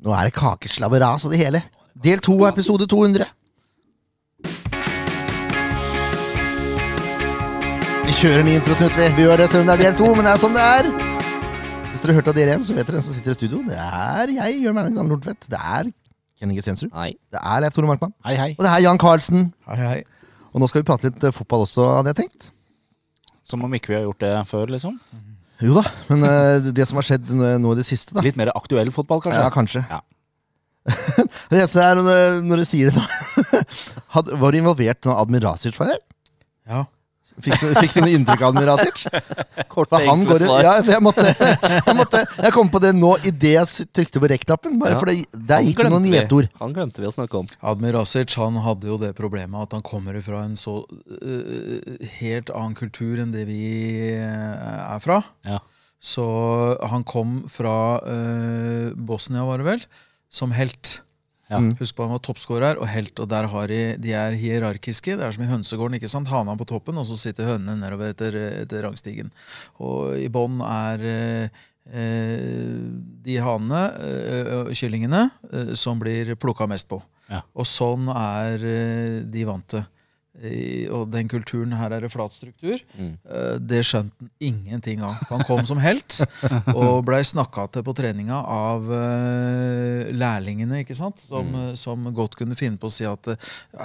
Nå er det kakeslabberas og det hele. Del to av episode 200. Vi kjører ny introsnutt, vi. Vi gjør det selv om det er del to, men det er sånn det er. Hvis dere hørte av dere igjen, så vet dere hvem som sitter i studio. Det er jeg, Jørn Magnus Nordtvedt. Det er Kenny Gesensrud. Nei. Det er Leif Tore Markmann. Hei, hei. Og det er Jan Carlsen. Hei, hei. Og nå skal vi prate litt eh, fotball også, hadde jeg tenkt. Som om ikke vi har gjort det før, liksom. Jo da, men eh, det som har skjedd nå nå i det siste, da Litt mer aktuell fotball, kanskje. Ja, kanskje. Ja. det eneste er når, når du sier det, da Had, Var du involvert når Admir Rasic var her? Ja. Fikk du, fikk du noe inntrykk av Admir Rasic? Kort For han går, ja, for jeg, måtte, jeg, måtte, jeg kom på det nå idet jeg s- trykte på rekk-knappen. Bare Ja. for det, der gikk det noen gjetord. Han glemte vi å snakke om. Admir Rasic han hadde jo det problemet at han kommer fra en så øh, helt annen kultur enn det vi øh, er fra. Ja. Så han kom fra øh, Bosnia, var det vel, som helt. Ja. Mm. Husk på han var toppskårer og helt, og der har de, de er hierarkiske. Det er som i hønsegården. ikke sant? Hana på toppen, og så sitter hønene nedover etter, etter rangstigen. Og i bånn er eh, eh, de hanene, eh, og kyllingene, eh, som blir plukka mest på. Ja. Og sånn er eh, de vant til. I- Og den kulturen her er det flat struktur. Mm. Eh, Det skjønte han ingenting av. Han kom som helt og blei snakka til på treninga av eh, lærlingene, ikke sant? Som, eh, som godt kunne finne på å si at eh,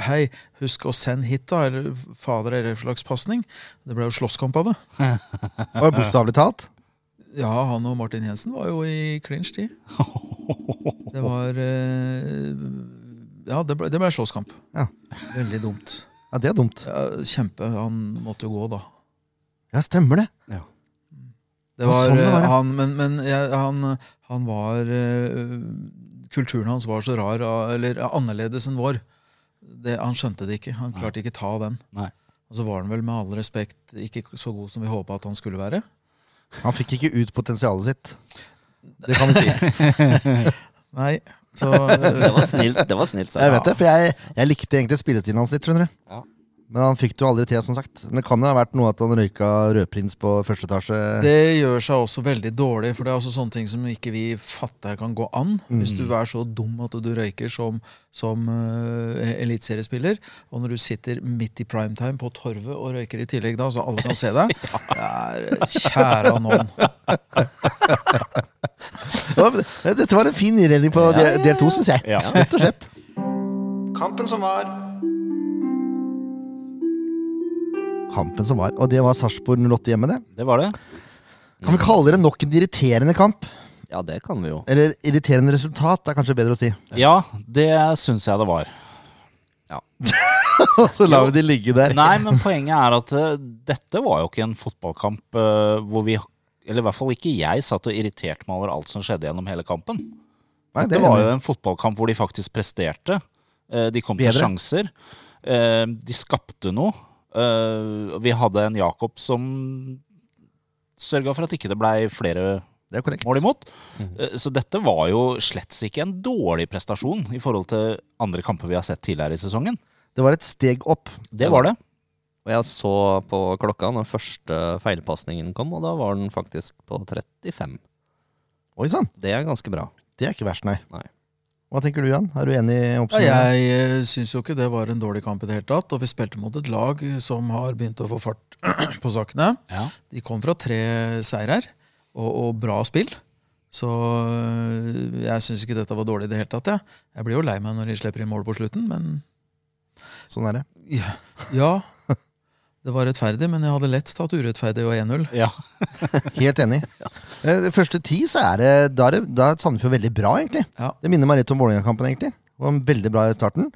Hei, husk å sende hit, da. Eller fader eller slags pasning. Det ble jo slåsskamp av det. Og Bokstavelig talt. Ja, han og Martin Jensen var jo i clinch, de. Det var eh, Ja, det ble, det ble slåsskamp. Ja. Veldig dumt. Ja, det er dumt. Ja, kjempe. Han måtte jo gå, da. Ja, stemmer det. Det Ja, var, sånn det var, ja. eh, han, men men jeg, han, han var eh, Kulturen hans var så rar, ah, eller eh, annerledes enn vår. Det, han skjønte det ikke. Han Nei. klarte ikke ta den. Nei. Og så var han vel med all respekt ikke så god som vi håpa at han skulle være. Han fikk ikke ut potensialet sitt. Det kan vi si. Nei, så eh, Det var snilt, det var snilt sagt. Jeg vet det, for jeg, jeg likte egentlig spillestilen hans litt, skjønner du. Ja. Men han fikk det jo aldri til, som sagt. Men det kan jo ha vært noe at han røyka rødprins på første etasje. det gjør seg også veldig dårlig, for det er også sånne ting som ikke vi fatter kan gå an. Hvis du er så dum at du røyker som, som eh, eliteseriespiller, og når du sitter midt i primetime på torvet og røyker i tillegg da, så alle kan se deg det er, Kjære nån. Ja, men Dette var en fin innredning på del- del to, syns jeg. Ja. Rett og slett. Kampen som var. Kampen som var, og det var Sarpsborg 08 hjemme, det. Det var det. Kan vi kalle det nok en irriterende kamp? Ja, det kan vi jo. Eller irriterende resultat, er kanskje bedre å si. Ja, det syns jeg det var. Så lar vi de ligge der. Nei, men poenget er at eh, dette var jo ikke en fotballkamp eh, hvor vi Eller i hvert fall ikke jeg satt og irriterte meg over alt som skjedde gjennom hele kampen. Nei, det var jo en fotballkamp hvor de faktisk presterte. Eh, De kom Bedre. til sjanser. Eh, De skapte noe. Eh, Vi hadde en Jakob som sørga for at ikke det blei flere det er korrekt. mål imot. Eh, Så dette var jo slett ikke en dårlig prestasjon i forhold til andre kamper vi har sett tidligere i sesongen. Det var et steg opp. Det var det. Og jeg så på klokka når første feilpasningen kom, og da var den faktisk på 35. Oi sann, Det er ganske bra. det er ikke verst, nei. Nei. Hva tenker du, Jan? Er du enig i Ja, oppsummeringen? jeg eh, syns jo ikke det var en dårlig kamp i det hele tatt. Og vi spilte mot et lag eh, som har begynt å få fart på sakene. Ja. De kom fra tre seirer og, og bra spill. Så øh, jeg syns ikke dette var dårlig i det hele tatt. Jeg. jeg blir jo lei meg når de slipper inn mål på slutten, men Sånn er det. ja. ja det var rettferdig, men jeg hadde lett tatt urettferdig og 1-0. Ja. Helt enig. Eh, Det første ti, så er det Da er, det, da er Sandefjord veldig bra, egentlig. Ja. Det minner meg litt om Vålerenga-kampen, egentlig. Det var veldig bra i starten.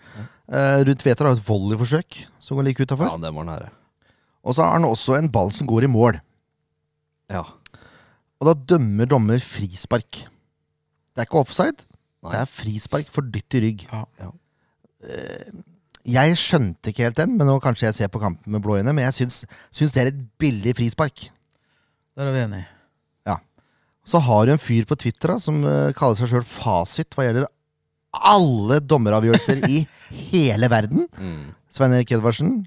Eh, Ruud Tveter har et volleyforsøk som går like utafor. Ja, det var nære. Og så har han også en ball som går i mål. Ja. Og da dømmer dommer frispark. Det er ikke offside. Nei. Det er frispark for dytt i rygg. Ja. Ja. Eh, Jeg skjønte ikke helt den, men nå kanskje jeg ser på kampen med blå øyne. Men jeg syns, syns det er et billig frispark. Der er vi enige. Så har du en fyr på Twitter da, som eh, kaller seg sjøl Fasit hva gjelder alle dommeravgjørelser i hele verden. Mm. Svein Erik Edvardsen.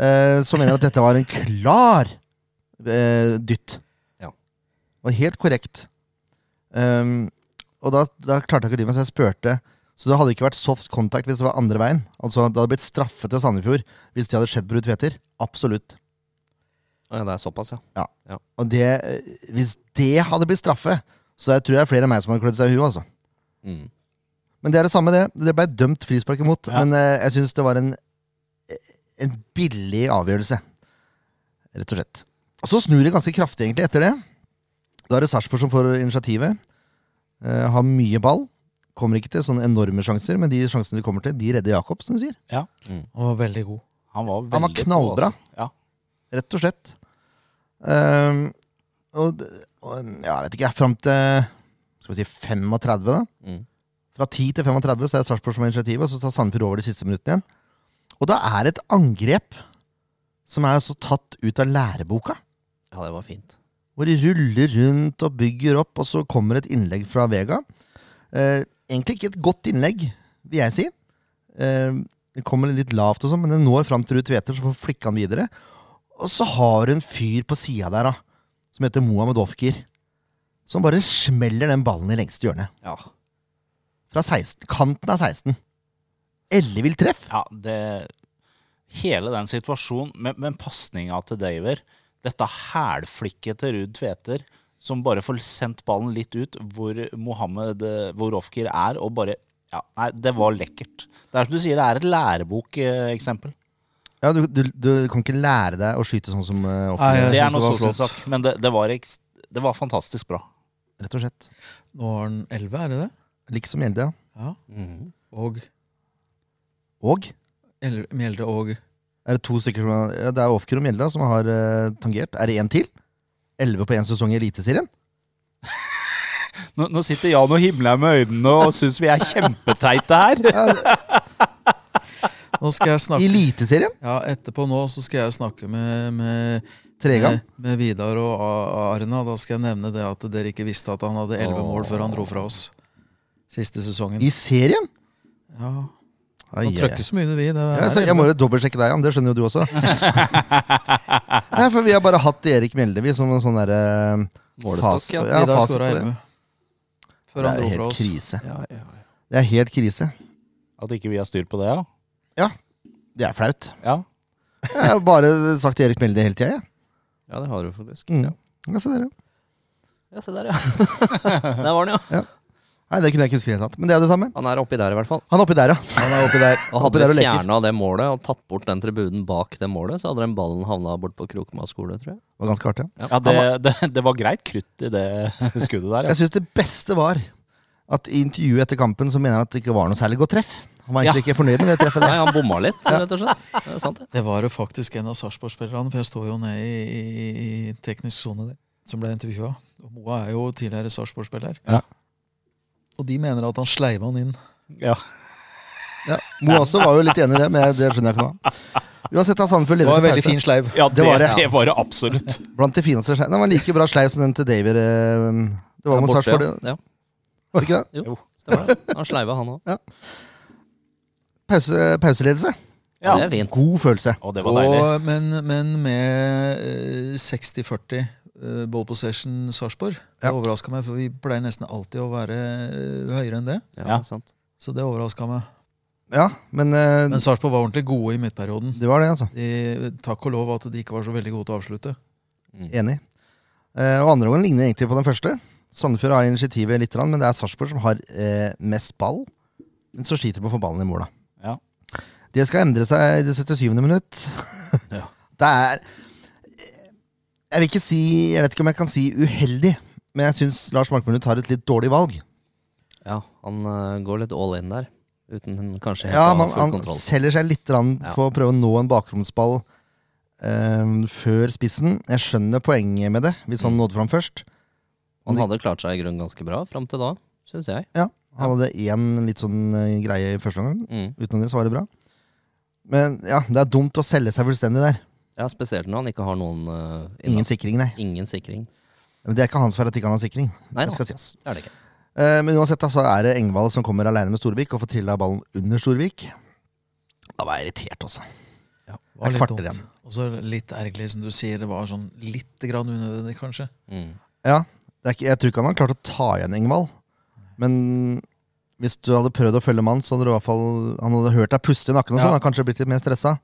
eh, som mener at dette var en klar eh, dytt. Ja. Og helt korrekt. Um, Og da, da klarte ikke de meg, så jeg spurte. Så det hadde ikke vært soft contact hvis det var andre veien. Altså, Det hadde blitt straffet til Sandefjord hvis det hadde skjedd på Ruud Tveter. Absolutt. Ja, det er såpass, ja. Og det, eh, hvis det hadde blitt straffe, så jeg tror jeg det er flere enn meg som hadde klødd seg i huet. altså. Mm. Men det er det samme, det. Det ble dømt frispark imot. Ja. Men eh, jeg syns det var en, en billig avgjørelse. Rett og slett. Og så snur det ganske kraftig egentlig etter det. Da er det Sarpsborg som får initiativet. Eh, har mye ball. Kommer ikke til sånne enorme sjanser, men de sjansene de kommer til, de redder Jakob, som du sier. Han var veldig god. Han var, Han var veldig god, knallbra. altså. Ja. Rett og slett. Ehm, og, og ja, jeg vet ikke, fram til skal vi si 35, da. Mm. Fra 10 til 35 så er Sarpsborg som har initiativet, og så tar Sandefjord over de siste minuttene igjen. Og da er det et angrep som er altså tatt ut av læreboka. ja, det var fint. Hvor de ruller rundt og bygger opp, og så kommer et innlegg fra Vega. Eh, egentlig ikke et godt innlegg, vil jeg si. Eh, det kommer litt lavt, og sånn, men det når fram til Ruud Tveter, så får flikke han videre. Og så har du en fyr på sida der da, som heter Mohammed Ofkir, som bare smeller den ballen i lengste hjørne. Ja. Fra 16, kanten av 16. Ellevilt treff. Ja, det Hele den situasjonen, men, men pasninga til Daver, dette hælflikket til Ruud Tveter, som bare får sendt ballen litt ut, hvor Mohammed eh, hvor Ofkir er, og bare ja, Nei, det var lekkert. Det er som du sier, det er et eh, lærebokeksempel. Ja, du, du, du kan ikke lære deg å skyte sånn som uh, Nei, jeg Det synes er noe det var flott. solsynssak, men det, det, var ekst, det var fantastisk bra. rett og slett. Nå har han 11, er det det? Liksom Gjelde, ja. Ja. Mhm. Og Og Elde- Mjelde og Er det to stykker som har, ja, Det er Ofker og Mjelde som har eh, tangert. Er det én til? Elleve på én sesong i Eliteserien? Nå, nå sitter Jan og himler med øynene og syns vi er kjempeteite her. Ja, Nå skal jeg I snakke Eliteserien? Ja, etterpå nå så skal jeg snakke med, med, Tregang. med, med Vidar og A- Arna. Da skal jeg nevne det at dere ikke visste at han hadde 11 mål før han dro fra oss. Siste sesongen. I serien? Ja, Ai, Mm. Han ai, trøkker ai. så mye, det vi. Det Ja, så er, jeg må jo dobbeltsjekke deg, Jan. Det skjønner jo du også. Nei, for Vi har bare hatt Erik Mjelde vi, som en sånn derre Målestokk, ja. ja, Vidar fasit skåra på det. 11 før Det han er dro jo fra helt oss. krise. Ja, ja, ja. Det er helt krise. At ikke vi har styr på det, ja. Det er flaut. ja. Jeg har bare sagt Erik Mjelde hele tida, jeg. ja, det har du faktisk. Mm. Ja. Ja, se der, ja. ja, se der, ja. der var den, ja. Nei, det kunne jeg ikke huske i det hele tatt. Men det er jo det samme. Han er oppi der, i hvert fall. Han er oppi der, ja. Han er oppi der, Og oppi hadde der og vi leker. fjerna det målet og tatt bort den tribunen bak det målet, så hadde den ballen havna bort på Krokma skole, tror jeg. Det var ganske artig. ja. ja det, det, det var greit krutt i det skuddet der. Jeg syns det beste var at i intervjuet etter kampen så mener han at det ikke var noe særlig godt treff. Han var egentlig ikke fornøyd med det treffet Nei, der. han bomma litt, rett og slett. Det er sant, det. Det var jo faktisk en av Sarpsborg-spillerne, for jeg står jo nede i, i, i teknisk sone der, som ble intervjua. Og Moa er jo tidligere Sarpsborg-spiller. Ja. Og de mener at han sleiva han inn. Ja. Ja. Ja, Mo også var jo litt enig i det, men det skjønner jeg ikke noe av. Uansett har Sandefjord Det ledet var en til veldig pause. fin sleiv. Ja, det, det, var var det. det. var det absolutt. Blant de fineste sleivene. Den var like bra sleiv som den til Daver. eh, Det var Ja, mot borte, Sarpsborg, det ja. Ja, var det ikke det? Jo, stemmer det. Han sleiva, han òg. Pause, pauseledelse. Ja. Ja. Det er fint. God følelse. Og det var deilig. Og, men, men med eh, 60-40 eh, ball possession Sarpsborg. Det Ja. overraska meg, for vi pleier nesten alltid å være eh, høyere enn det. Ja, Ja. sant. Så det overraska meg. Ja, men eh, Men Sarpsborg var ordentlig gode i midtperioden. det var det, altså. De, takk og lov at de ikke var så veldig gode til å avslutte. Enig. Eh, og andre gangen ligner egentlig på den første. Sandefjord har initiativet litt, men det er Sarpsborg som har eh, mest ball. Men så sliter de med å få ballen i mål, da. Ja. Det skal endre seg i det 77. minutt. Ja. det er Jeg vil ikke si Jeg vet ikke om jeg kan si uheldig, men jeg syns Lars Markmund tar et litt dårlig valg. Ja, han eh, går litt all in der. Uten en- kanskje helt Ja, å ha man, full Han kontroll. selger seg litt grann Ja. på å prøve å nå en bakromsball eh, før spissen. Jeg skjønner poenget med det, hvis han nådde fram først. Han hadde klart seg i grunnen ganske bra fram til da, syns jeg. Ja, Han hadde én litt sånn eh, greie i første omgang. Mm. Utenom det så var det bra. Men ja, det er dumt å selge seg fullstendig der. Ja, Spesielt når han ikke har noen eh, Ingen inna- sikring, nei. Ingen sikring. Men Det er ikke hans feil at ikke han har sikring. Nei det da, skal sies. det er det ikke. Eh, Men uansett da, så er det Engvald som kommer alene med Storvik og får trilla ballen under Storvik. Da var jeg irritert, altså. Var Det er litt kvarter dumt. Og så litt ergerlig, som du sier. Det var sånn litt grann unødvendig, kanskje. Mm. Ja, det er ikke, Jeg tror ikke han har klart å ta igjen Engvald. Men hvis du hadde prøvd å følge mannen, så hadde du i hvert fall Han hadde hørt deg puste i nakken, og Ja. sånn, hadde han kanskje blitt litt mer stressa.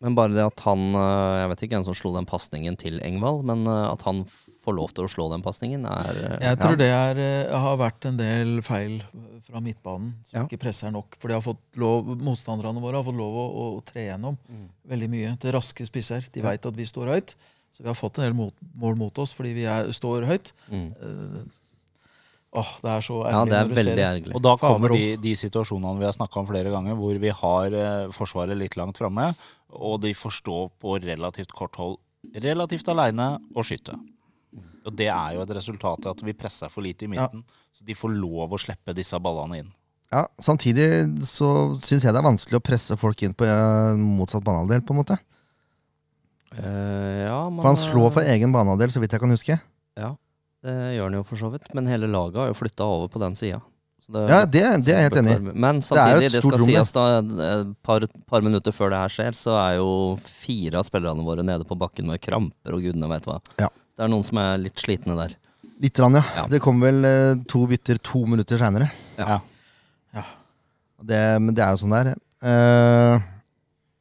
Men bare det at han eh, Jeg vet ikke hvem som slo den pasningen til Engvald, men eh, at han f- får lov til å slå den pasningen, er eh, Jeg tror det er, eh, har vært en del feil fra midtbanen som Ja. ikke presser nok. For de har fått lov, motstanderne våre har fått lov å, å, å tre gjennom Mm. veldig mye til raske spisser. De vet at vi står høyt, så vi har fått en del mot, mål mot oss fordi vi er, står høyt. Mm. Eh, Åh, det er så ærlig Ja, det er når du ser veldig det. ergerlig. Og da Fader kommer de, de situasjonene vi har snakka om flere ganger, hvor vi har eh, Forsvaret litt langt framme, og de får stå på relativt kort hold relativt aleine og skyte. Og det er jo et resultat av at vi presser for lite i midten, så de får lov å slippe disse ballene inn. Ja, Samtidig så syns jeg det er vanskelig å presse folk inn på eh, motsatt banehalvdel. på en måte Eh, ja, man, For han slår for egen banehalvdel, så vidt jeg kan huske. Ja, det gjør han jo for så vidt. Men hele laget har jo flytta over på den sida. Ja, det, det er jeg helt enig i. Men er jo et samtidig, det, stort skal rom, det. sies da, et par, par minutter før det her skjer, så er jo fire av spillerne våre nede på bakken med kramper og gudene veit hva. Ja. Det er noen som er litt slitne der. Litt, rann, ja. Ja. Det kom vel eh, to bytter to minutter seinere. Ja. Ja. Det, men det er jo sånn det er. Eh,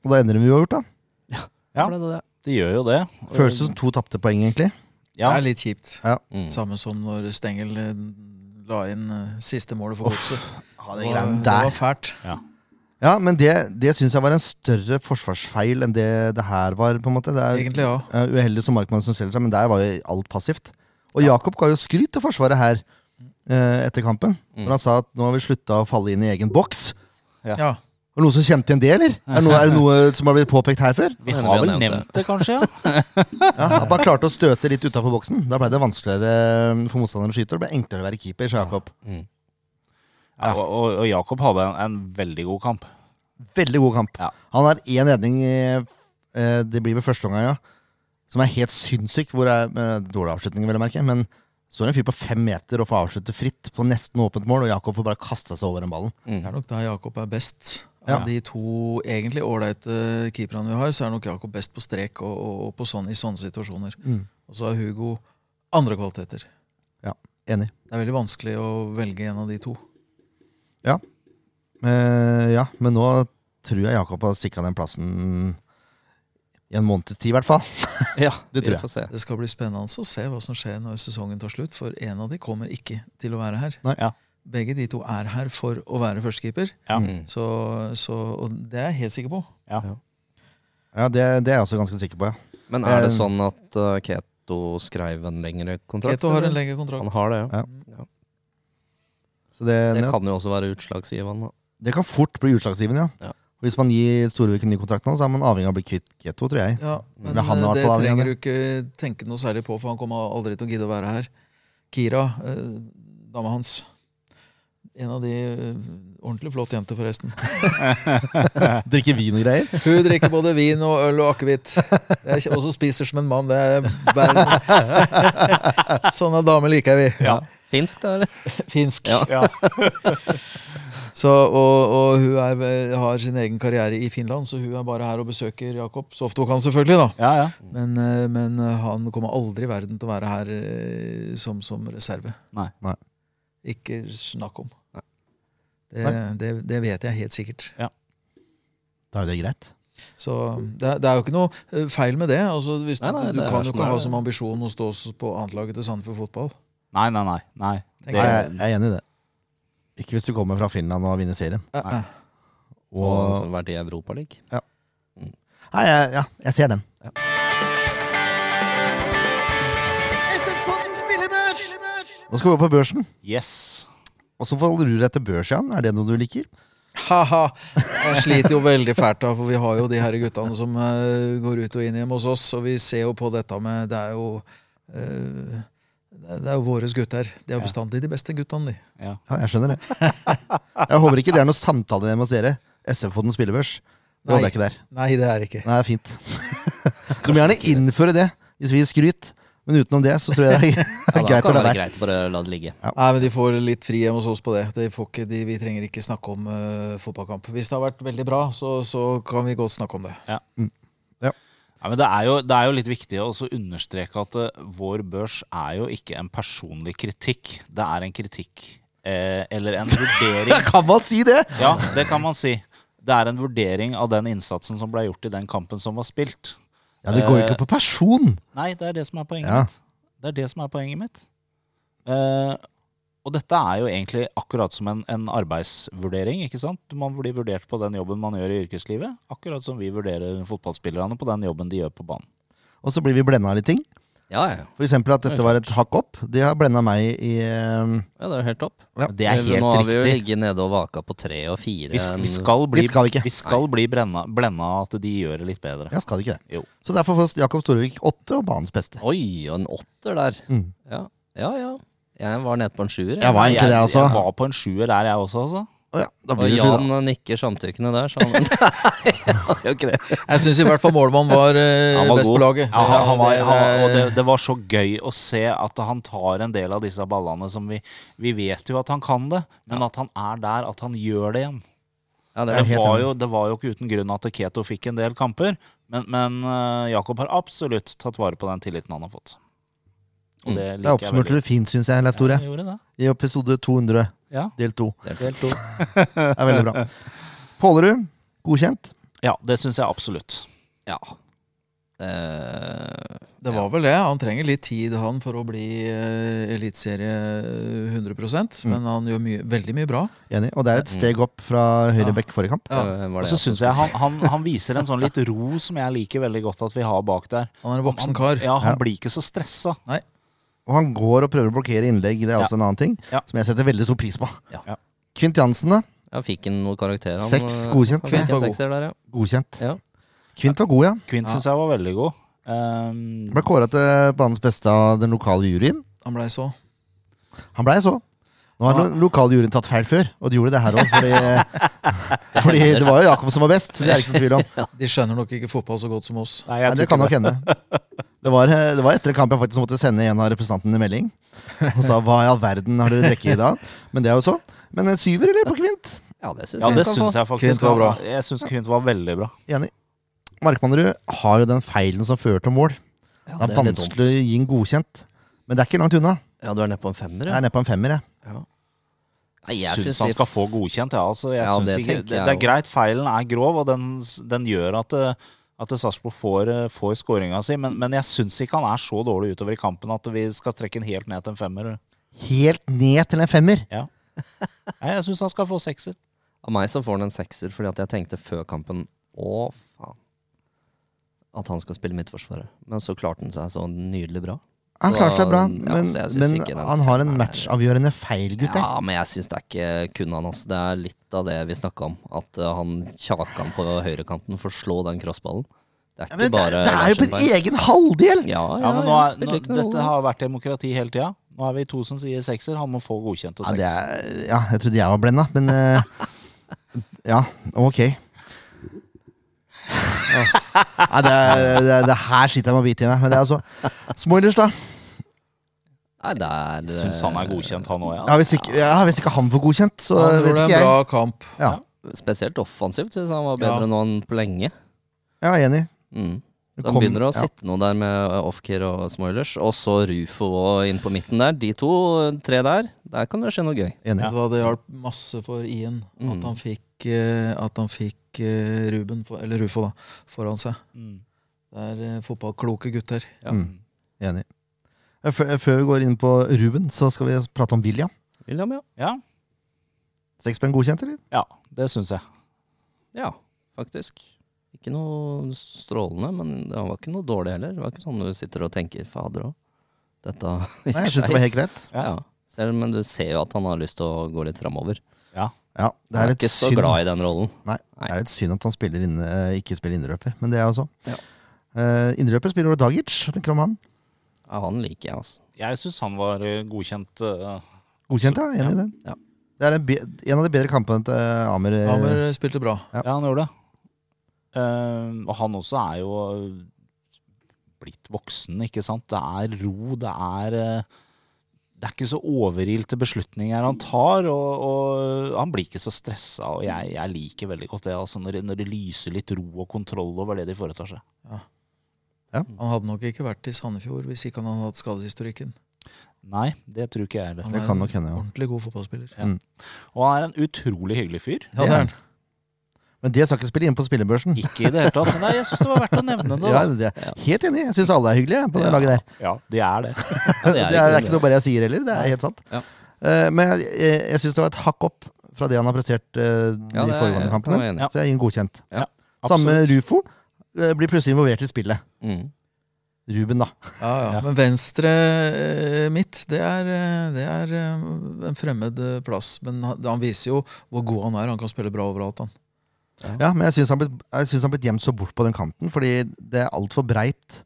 og da ender det med uavgjort, da. Ja. Ble det det? De gjør jo det. Føles det som to tapte poeng, egentlig. Ja, Det er litt kjipt. Mm. Samme som når Stengel eh, la inn eh, siste målet for godset. det var- greiene det der. var fælt. Ja, men det, det syns jeg var en større forsvarsfeil enn det det her var. på en måte Det er Egentlig, ja. eh, uheldig som Markmann som selger seg, men der var jo alt passivt. Og Jakob ga jo skryt til Forsvaret her eh, etter kampen. Når han sa at nå har vi slutta å falle inn i egen boks. ja. Er det noen som kjente igjen det, eller? Er det noe, er det noe som har blitt påpekt her før? vi har vel nevnt nevnt det, kanskje? ja. Ja, At man klarte å støte litt utafor boksen. Da ble det vanskeligere eh, for motstanderen å skyte. og Det ble enklere å være keeper, sa Jakob. ja og- og, og Jakob hadde en, en veldig god kamp. Veldig god kamp. Ja. Han har én redning, i, eh, det blir ved første omgang, ja. Som er helt sinnssyk. Hvor er, eh, dårlig avslutning, vil jeg merke. Men så er det en fyr på fem meter og får avslutte fritt på nesten åpent mål, og Jakob får bare kasta seg over den ballen. Det er nok da Jakob er best. Ja. Av de to egentlig ålreite keeperne vi har, så er nok Jakob best på strek og, og, og på sånn, i sånne situasjoner. Mm. Og så har Hugo andre kvaliteter. Enig. Det er veldig vanskelig å velge en av de to. Eh, ja, men nå tror jeg Jakob har sikra den plassen i en måneds tid, i hvert fall. Ja, Det tror jeg. vi får se. Det skal bli spennende altså å se hva som skjer når sesongen tar slutt, for en av de kommer ikke til å være her. Nei. Ja. Begge de to er her for å være førstekeeper, Ja. Mm. så, så, og det er jeg helt sikker på. Ja. Ja, det, det er jeg også ganske sikker på, ja. Men er det Eh, sånn at eh, Keto skrev en lengre kontrakt? Keto har eller? en lengre kontrakt. Han har det, ja. Så det, Det det, kan, kan jo også være utslagsgivende. da. fort bli utslagsgivende, ja. Ja. Hvis man gir Storevik en ny kontrakt nå, så er man avhengig av å bli kvitt Keto, tror jeg. Ja, men eh, Men han er i hvert det fall avhengig. trenger du ikke tenke noe særlig på, for han kommer aldri til å gidde å være her. Kira, eh, dama hans. En av de eh, ordentlig flott jente, forresten. Drikke vin og greier. Hun drikker både vin og øl og akevitt. Det er ikke- Og så spiser som en mann. Det er verden. Sånne damer liker vi. Ja. Finsk, da, eller? Finsk. Ja. Ja. Så, og, og hun er, eh, har sin egen karriere i Finland, så hun er bare her og besøker Jakob så ofte hun kan, selvfølgelig. da Ja, ja. Men, eh, men eh, han kommer aldri i verden til å være her eh, som, som reserve. Nei. Nei. Ikke snakk om. Nei. Det, det, det vet jeg helt sikkert. Da er det greit. Så det, er- det er jo ikke noe eh, feil med det. Altså, hvis, Nei, nei, du det er kan jo sånn ikke er ha det. som ambisjon å stå s- på annetlaget til Sandefjord fotball. Nei, nei, nei. nei. tenker Det, jeg, jeg er enig i det. Ikke hvis du kommer fra Finland og vinner serien. Eh, eh. Og som har vært i Europaligaen. Nei, jeg, ja, jeg ser den. Nå skal vi over på børsen. yes. Og så forholder du deg til børs, Jan. Er det noe du liker? Haha, jeg sliter jo veldig fælt da, for vi har jo de her guttene som eh, går ut og inn hjemme hos oss, og vi ser jo på dette med Det er jo eh, det det er jo våre gutter. De er jo bestandig de beste guttene, de. Ja. Ja, jeg skjønner det. Jeg håper ikke det er noe samtale hjemme hos dere. SF på den spillebørs. Det håper Nei. jeg ikke der. Nei, det er det ikke. Nei, det er fint. Du må gjerne innføre det hvis vi gir skryt, men utenom det så tror jeg det Ja, er da greit å kan det la være være. greit å bare la det ligge. Nei, men De får litt fri hjemme hos oss på det. De får ikke, de, vi trenger ikke snakke om eh, fotballkamp. Hvis det har vært veldig bra, så, så kan vi godt snakke om det. Ja, men det er, jo, det er jo litt viktig å også understreke at eh, vår børs er jo ikke en personlig kritikk. Det er en kritikk eh, eller en vurdering Kan man si det?! Ja, det kan man si. Det er en vurdering av den innsatsen som ble gjort i den kampen som var spilt. Ja, Det går jo ikke på person! Nei, det er det som er poenget Ja. mitt. Det er det som er poenget mitt. Eh, og dette er jo egentlig akkurat som en, en arbeidsvurdering. ikke sant? Man blir vurdert på den jobben man gjør i yrkeslivet. Akkurat som vi vurderer fotballspillerne på den jobben de gjør på banen. Og så blir vi blenda av litt ting. Ja, ja. For eksempel at dette var et hakk opp. Det har blenda meg i eh, ja det er jo helt topp. Det er helt Nå har vi jo riktig. ligget nede og vaka på tre og fire. Vi, sk- en- vi skal bli, Litt skal vi ikke. vi skal bli brenna, blenda av at de gjør det litt bedre. Ja, skal det ikke det? Jo. Så derfor får Jakob Storevik åtte og banens beste. Oi, og en åtter der. Mm. Ja. ja ja. Jeg var nede på en sjuer. jeg. Jeg var egentlig det, altså. Jeg var på en sjuer der, jeg også. altså. Å ja, da Og blir det sju, da. Jan nikker samtykkende der, så han Nei, han gjør ikke det. Jeg syns i hvert fall målmann var, eh, Han var best på god. laget. Ja, han, han var, Det- han, og det, det var så gøy å se at han tar en del av disse ballene som vi Vi vet jo at han kan det, men at han er der, at han gjør det igjen. Ja, det Jeg Det er helt var enig. jo, det var jo ikke uten grunn at Keto fikk en del kamper, men, men eh, Jakob har absolutt tatt vare på den tilliten han har fått. Og Mm. det Da liker jeg oppsummerte veldig. du fint, syns jeg, Leif Tore. Ja, jeg gjorde det. I episode 200, Ja, del 2. del to. Det er veldig bra. Pålerud, godkjent. Ja, det syns jeg absolutt. Ja. Eh, Det var vel det. Han trenger litt tid han for å bli uh, eliteserie 100 Mm. men han gjør mye, veldig mye bra. Enig. Og det er et steg opp fra høyrebekk forrige kamp. Ja. det var Og det så jeg syns jeg han, han, han viser en sånn litt ro som jeg liker veldig godt at vi har bak der. Han er en voksen kar. Ja, Ja. Han blir ikke så stressa. Og han går og prøver å blokkere innlegg, det er Ja. også en annen ting. Ja. Som jeg setter veldig stor pris på. Ja. Kvint Jansen, da. Ja, fikk han noen karakterer? Han, Seks, eh, godkjent. Han fikk Fint var en god. sekser der, ja. Godkjent. ja. Kvint var god, ja. Kvint Ja. synes syns jeg var veldig god. Ehm, Ble kåra til banens beste av den lokale juryen. Han blei så. Han blei så. Nå har den lokale juryen tatt feil før, og de gjorde det her òg. Fordi, fordi det var jo Jakob som var best. Det er det ikke noen tvil om. De skjønner nok ikke fotball så godt som oss. nei, Nei, jeg det tror kan nok ikke hende. Det var, eh, det var etter en kamp jeg faktisk måtte sende en av representantene en melding. Og sa hva i all verden har dere trekket i dag? Men det er jo så. Men en syver, eller? På kvint? ja, det syns Ja, jeg. det han kan syns jeg faktisk. Kvint var bra. han- Jeg syns Kvint var veldig bra. Enig. Markmannrud har jo den feilen som fører til mål. få. Ja, Det er litt vanskelig å dumt. gi en godkjent. Men det er ikke langt unna. Ja, du er nede på en femmer, Jeg ja. er nede på en femmer. Jeg. ja. Nei, Jeg jeg syns synes han vi- skal få godkjent, ja, altså, jeg. Ja, synes det ikke, det, tenker jeg det er også. greit, feilen er grov, og den, den gjør at, eh, at Sarpsborg får, eh, får skåringa si, men, men jeg syns ikke han er så dårlig utover i kampen at vi skal trekke den helt ned til en femmer. Helt ned til en femmer. Nei, jeg syns han skal få sekser. Av meg så får han en sekser, fordi at jeg tenkte før kampen Å, faen. At han skal spille midtforsvaret. Men så klarte han seg så nydelig bra. Han Så, klarte seg bra, ja, men, så jeg synes men ikke den han har en femmeren er- matchavgjørende feil, gutter. Ja, men jeg syns det er ikke kun han. Altså. Det er litt av det vi snakka om. At eh, han kjakan på høyrekanten får slå den crossballen. Det Ja, er ikke men det, bare det er jo på Larsen en der. egen halvdel! Ja, ja, Ja, men nå ja, er, spiller nå, ikke noe rolle. dette har vært demokrati hele tida. Nå er vi to som sier sekser. Han må få godkjent og Ja, seks. det er, ja jeg trodde jeg var blenda, men eh, Ja, ok. Nei, det, er- det, er- det her sliter jeg med å bite i meg. Men det er altså Smoilers, da. Nei, det er eh, Jeg syns han er godkjent, han òg, ja. Ja, hvis, ikke, ja, hvis ikke han får godkjent, så Han vet gjorde ikke en jeg. bra kamp. Spesielt offensivt syns han var bedre Ja. nå enn på lenge. Ja, enig. Mm. Det Da kom- begynner det å ja. sitte noe der med Offkir og Smoilers. Og så Rufo og inn på midten der. De to, eh, tre der. Der kan det skje noe gøy. Enig. Vet du hva, Det hjalp masse for Ien Mm. at han fikk, eh, at han fikk eh, Ruben, for, eller Rufo, da, foran seg. Mm. Det er eh, fotballkloke gutter. Ja. Mm. Enig. Før, før vi går inn på Ruben, så skal vi prate om William. William, ja. Ja, Seks poeng godkjent, eller? ja, det syns jeg. Ja, faktisk. Ikke noe strålende, men det var ikke noe dårlig heller. Det var ikke sånn du sitter og tenker 'fader òg'. Dette Nei, jeg synes det var helt greit. Ja. Selv, men du ser jo at han har lyst til å gå litt framover. Ja, det Han er er litt ikke så synd. glad i den rollen. Nei, det er litt synd at han spiller inne, eh, ikke spiller indreløper, men det er jeg også. Ja. Eh, indreløper spiller Ole Dagic. Hva tenker du om han? Ja, han liker jeg, altså. Jeg syns han var eh, godkjent. eh, Godkjent, ja. Enig i det. Ja. Det er en, be en av de bedre kampene til eh, Amer. eh, Hammer spilte bra. Ja. Ja, han gjorde det. Ehm, og han også er jo eh, blitt voksen, ikke sant. Det er ro, det er eh, Det er ikke så overilte beslutninger han tar, og, og han blir ikke så stressa. Og jeg, jeg liker veldig godt det, altså når, når det lyser litt ro og kontroll over det de foretar seg. Mm. Han hadde nok ikke vært i Sandefjord hvis ikke han hadde hatt skadehistorikken. Nei, det tror ikke jeg heller. Han Det er kan en nok hende, ja. Ordentlig god fotballspiller. Ja. Og han er en utrolig hyggelig fyr. Ja, det er han. Men det skal ikke spille inn på spillebørsen. Ikke i det hele tatt, men nei, jeg syns det var verdt å nevne det. Ja, det er helt enig. Jeg syns alle er hyggelige på det laget der. da. Ja, de er det. Ja, Det er, det er ikke noe bare jeg sier heller. Det er helt sant. Ja. Eh, Men jeg, jeg, jeg syns det var et hakk opp fra det han har prestert eh, de Ja, det er- foregående kan jeg kampene. være enig i. Så jeg gir en godkjent. Ja, Samme Rufo eh, blir plutselig involvert i spillet. Mm. Ruben, da. Ja, ja. Ja. Men venstre eh, mitt, det er, eh, det er eh, en fremmed eh, plass. Men han, han viser jo hvor god han er. Han kan spille bra overalt, han. Ja, Men jeg syns han blitt- jeg syns han blitt gjemt så bort på den kanten, fordi det er altfor breit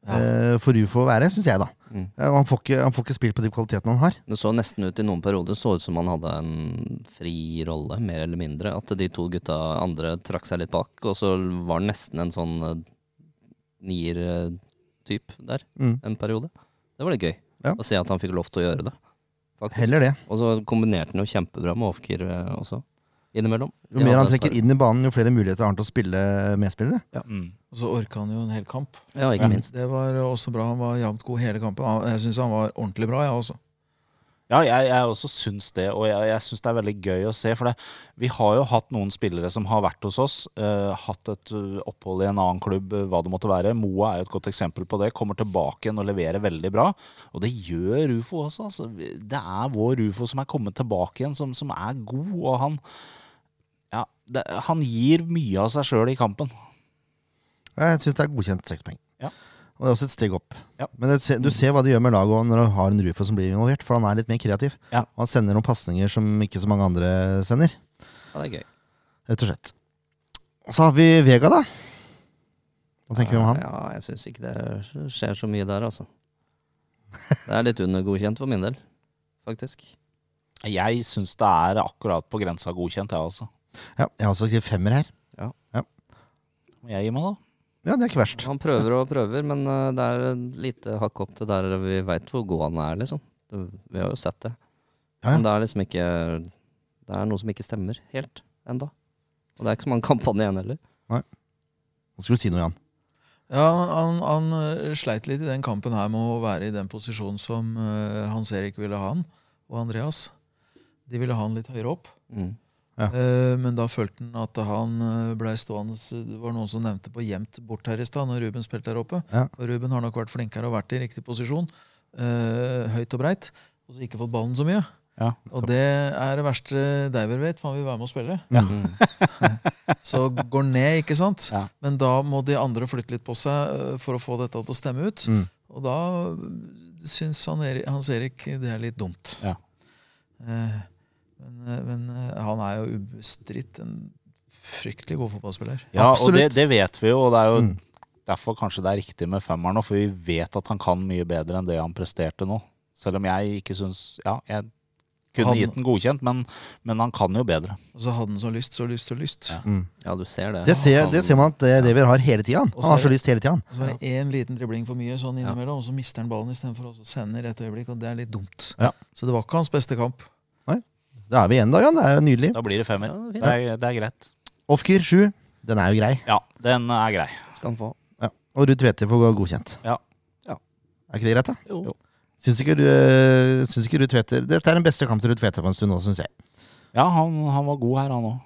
Ja. eh, for Rufo å være, syns jeg, da. Mm. Eh, Han, får ikke, han får ikke spilt på de kvalitetene han har. Det så nesten ut i noen perioder så ut som han hadde en fri rolle, mer eller mindre. At de to gutta andre trakk seg litt bak, og så var han nesten en sånn nier-typ der Mm. en periode. Det var litt gøy Ja. å se at han fikk lov til å gjøre det. Faktisk. Heller det. Og så kombinerte han jo kjempebra med Ofkir eh, også, innimellom. Jo mer han trekker inn i banen, jo flere muligheter har han til å spille medspillere. Mm. Og så orka han jo en hel kamp. Ja, ikke minst. Det var også bra. Han var jevnt god hele kampen. Han- Jeg syns han var ordentlig bra, jeg også. Ja, jeg, jeg også syns det, og jeg, jeg syns det er veldig gøy å se. For det, vi har jo hatt noen spillere som har vært hos oss, eh, hatt et eh, opphold i en annen klubb, eh, hva det måtte være. Moa er jo et godt eksempel på det. Kommer tilbake igjen og leverer veldig bra. Og det gjør Rufo også. Altså. Vi- Det er vår Rufo som er kommet tilbake igjen, som, som er god, og han ja, det, han gir mye av seg sjøl i kampen. Jeg syns det er godkjent seks poeng. Ja. Og det er også et steg opp. Ja. Men det, ser- du ser hva det gjør med laget også når du har en Rufo som blir involvert, for han er litt mer kreativ. Ja. Og han sender noen pasninger som ikke så mange andre sender, Ja, det er gøy. rett og slett. Så har vi Vega, da. Hva tenker vi om han? Ja, jeg syns ikke det skjer så mye der, altså. Det er litt undergodkjent for min del, faktisk. Jeg syns det er akkurat på grensa godkjent, jeg også. Ja, jeg har også skrevet femmer her. Må jeg gi meg, da? Ja, det er ikke verst. Han prøver og prøver, men eh, det er et lite hakk opp til der vi veit hvor god han er, liksom. Det- Vi har jo sett det. Ja, ja. Men det er liksom ikke Det er noe som ikke stemmer helt enda. Og det er ikke så mange kampene igjen heller. Nå skulle du si noe, Jan. Ja, han, han eh, sleit litt i den kampen her med å være i den posisjonen som eh, Hans Erik ville ha han, og Andreas. De ville ha han litt høyere opp. Mm. Eh, Men da følte han at han eh, ble stående Det var noen som nevnte på gjemt bort her i stad, når Ruben spilte der oppe. Ja. For Ruben har nok vært flinkere og vært i riktig posisjon. eh, høyt og breit. Og så ikke fått ballen så mye. Ja. Og det er det verste Diver vet, for han vil være med og spille. Mm. Så går ned, ikke sant? Ja. Men da må de andre flytte litt på seg eh, for å få dette til å stemme ut. Mm. Og da eh, syns han Erik, Hans Erik det er litt dumt. Ja. Eh, Men, eh, men eh, han er jo ubestridt en fryktelig god fotballspiller. Ja, og det, Absolutt. det vet vi jo, og det er jo Mm. derfor kanskje det er riktig med femmeren nå, for vi vet at han kan mye bedre enn det han presterte nå. Selv om jeg ikke syns Ja, jeg kunne Han- gitt den godkjent, men, men han kan jo bedre. Og så hadde han så lyst, så lyst, så lyst. Ja. Mm. Ja, du ser det. Det, ser, det ser man at det, det vi har hele tida. Og Han så har er så det- lyst hele tida. Og så var det én liten dribling for mye sånn innimellom, og så mister han ballen istedenfor å sende i rett øyeblikk, og det er litt dumt. Ja. Så det var ikke hans beste kamp. Da er vi igjen, da, Jan. Det er jo nydelig. Da blir det femmer. Ja, det Det er er, det er greit. Ofker sju. Den er jo grei. Ja, den er grei. Skal han få. Ja. Og Ruud Tvedte får gå godkjent. Ja. Ja. Er ikke det greit, da? Jo. Jo. Syns ikke, du- eh, syns ikke Ruud Tvedter Dette er den beste kampen til Ruud Tvedter på en stund nå, syns jeg. Ja, han, han var god her, han òg.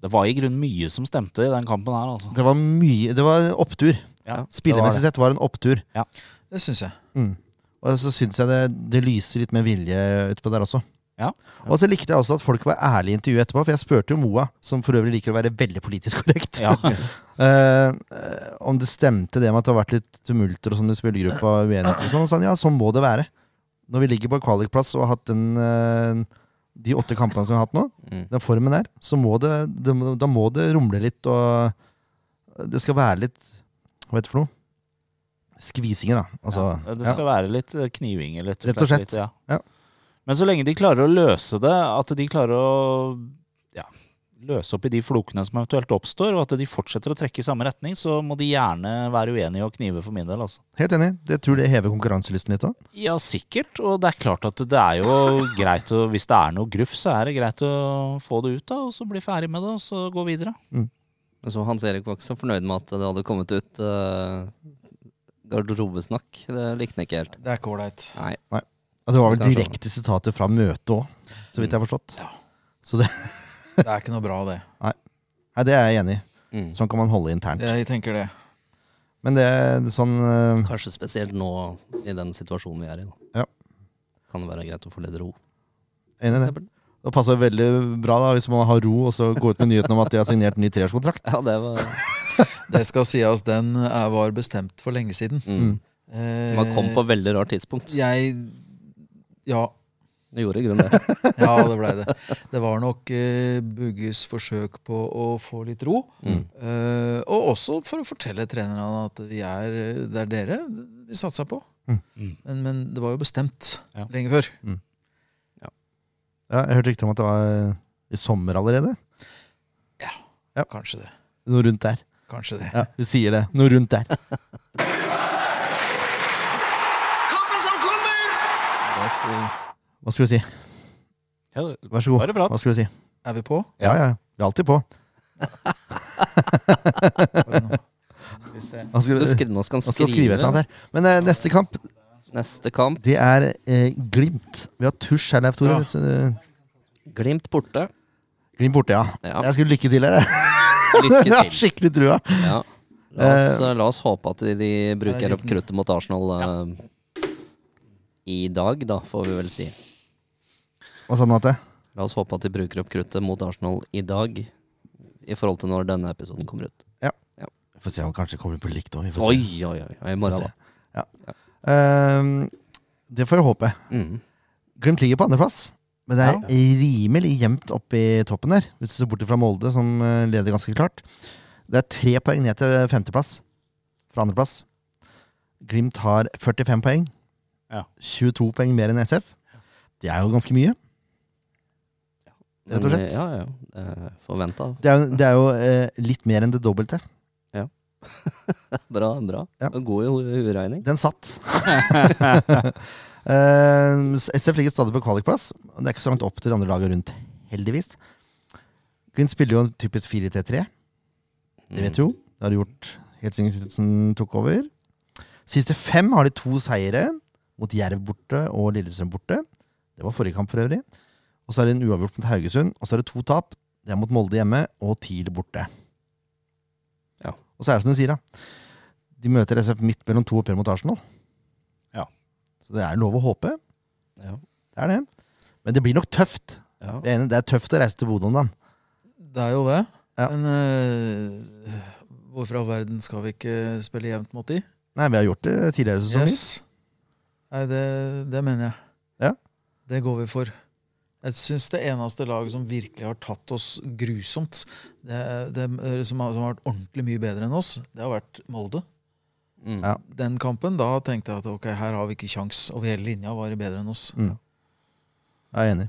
Det var i grunnen mye som stemte i den kampen her, altså. Det var mye Det var en opptur. Ja, Spillemessig sett var det en opptur. Det syns jeg. Mm. Og så syns jeg det, det lyser litt med vilje utpå der også. Ja. Og så likte jeg også at folk var ærlige i intervjuet etterpå, for jeg spurte jo Moa, som for øvrig liker å være veldig politisk korrekt, Ja. eh, om det stemte det med at det har vært litt tumulter og sånn i spillergruppa, uenigheter og sånn. Og sa han ja, sånn må det være. Når vi ligger på kvalikplass og har hatt den eh, de åtte kampene som vi har hatt nå, Mm. den formen der, så må det, det må- da må det rumle litt, og eh, det skal være litt Hva heter det for noe? Skvisinger, da. Altså, ja, det skal være litt eh, knivinger, litt, Rett og slett. Litt, ja. Ja. Men så lenge de klarer å løse det, at de klarer å ja, løse opp i de flokene som eventuelt oppstår, og at de fortsetter å trekke i samme retning, så må de gjerne være uenige og knive for min del. altså. Helt enig. Det tror det hever konkurranselysten litt òg. Ja, sikkert. Og det er klart at det er jo greit å Hvis det er noe gruff, så er det greit å få det ut, da, og så bli ferdig med det, og så gå videre. Men så Hans Erik var ikke så fornøyd med at det hadde kommet ut eh, garderobesnakk. Det likte han ikke helt. Det er ikke ålreit. Nei. Ja, Altså, det sånn. var vel Kanskje. direkte sitater fra møtet òg, så vidt jeg har forstått. Ja. Så det, Det er ikke noe bra, det. nei, det er jeg enig i. Mm. Sånn kan man holde internt. Jeg tenker det. Men det er sånn eh, Kanskje spesielt nå, i den situasjonen vi er i. Da. Ja. Kan det være greit å få litt ro. Enig i det. Det passer veldig bra da, hvis man har ro, og så gå ut med nyheten om at de har signert ny treårskontrakt. Ja, det var Eh, Det skal sies, den er- var bestemt for lenge siden. mm. Eh, Man kom på veldig rart tidspunkt. Jeg Ja, Det gjorde i grunnen det. ja det blei det. Det var nok eh, Bugges forsøk på å få litt ro. Mm. Eh, og også for å fortelle trenerne at vi er, det er dere vi satser på. Mm. Mm. Men, men det var jo bestemt Ja. lenge før. Ja, jeg hørte rykter om at det var eh, i sommer allerede. Ja. Kanskje det. Noe rundt der. Kanskje det. Ja, vi sier det. Noe rundt der. Vet, eh, Hva skulle vi si? Ja, det- Vær så god. Bare prat. Hva skulle vi si? er vi på? Ja, ja. Vi er alltid på. Bare nå. Hva skulle, Du skri, nå skal hva han skal vi skrive skrive. et eller annet her. Men eh, neste kamp, Neste kamp. det er eh, Glimt. Vi har tusj her, Leif Tore. Ja. hvis, eh, Glimt borte. Glimt borte, ja. Ja. Jeg skulle lykke til dere. Lykke Jeg har til. skikkelig trua. Ja. La, oss, Eh, la oss håpe at de bruker opp kruttet mot Arsenal eh, i dag, da, får vi vel si. Hva sa du, Nate? La oss håpe at de bruker opp kruttet mot Arsenal i dag, i forhold til når denne episoden kommer ut. Vi får se om han kanskje kommer på likt òg. Oi, oi, oi. I morgen, da. Ehm, det får jeg håpe. Mm. Glimt ligger på andreplass, men det er rimelig jevnt opp i toppen der. Hvis du ser bort fra Molde, som eh, leder ganske klart. Det er tre poeng ned til femteplass fra andreplass. Glimt har 45 poeng. Ja. 22 poeng mer enn SF. Det er jo ganske mye. Rett og Men, slett. eh, Ja, ja. Eh, Forventa. Det er, jo- det er jo eh, litt mer enn det dobbelte. Bra, bra. Ja. God i ho- hoderegning. Den satt. Eh, SF ligger stadig på kvalikplass. og Det er ikke så langt opp til de andre lagene rundt, heldigvis. Glimt spiller jo en typisk 4-3-3. Det Mm. vet vi jo. Det har de gjort helt siden Knutsen tok over. Siste fem har de to seire, mot Jerv borte og Lillestrøm borte. Det var forrige kamp, for øvrig. Og så er det en uavgjort mot Haugesund. Og så er det to tap. Det er mot Molde hjemme og TIL borte. Ja. Og så er det som du sier, da. De møter SF midt mellom to oppgjør mot Arsenal. Ja. Så det er lov å håpe. Ja. Det er det. Men det blir nok tøft. Ja. Vi er enige, Det er tøft å reise til Bodø om dagen. Det er jo det. Ja. Men eh, hvorfor i all verden skal vi ikke spille jevnt mot de? Nei, vi har gjort det tidligere sesonger. Yes. Nei, det, det mener jeg. Ja. Det går vi for. Jeg syns det eneste laget som virkelig har tatt oss grusomt, det, det, som, har, som har vært ordentlig mye bedre enn oss, det har vært Molde. Mm. Ja. Den kampen, da tenkte jeg at ok, her har vi ikke kjangs. Over hele linja var de bedre enn oss. Mm. Jeg er enig.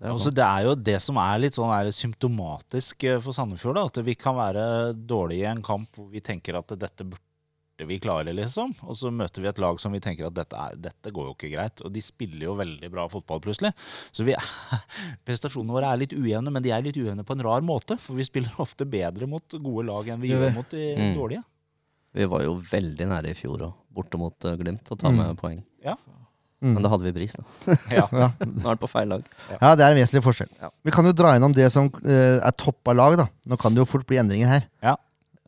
Det er Altså, det er jo det som er litt sånn er symptomatisk eh, for Sandefjord. Da. At vi kan være dårlige i en kamp hvor vi tenker at dette burde vi klare, liksom. Og så møter vi et lag som vi tenker at dette, er, dette går jo ikke greit. Og de spiller jo veldig bra fotball, plutselig. Så vi, prestasjonene våre er litt ujevne, men de er litt ujevne på en rar måte. For vi spiller ofte bedre mot gode lag enn vi Gjør vi? gjør mot de Mm. dårlige. Vi var jo veldig nære i fjor òg, borte mot eh, Glimt, å ta Mm. med poeng. Ja. Mm. Men da hadde vi bris, da. Ja. Ja, Nå er det på feil lag. Ja, det er en vesentlig forskjell. Ja. Vi kan jo dra gjennom det som eh, er topp av lag. da Nå kan det jo fort bli endringer her. Ja.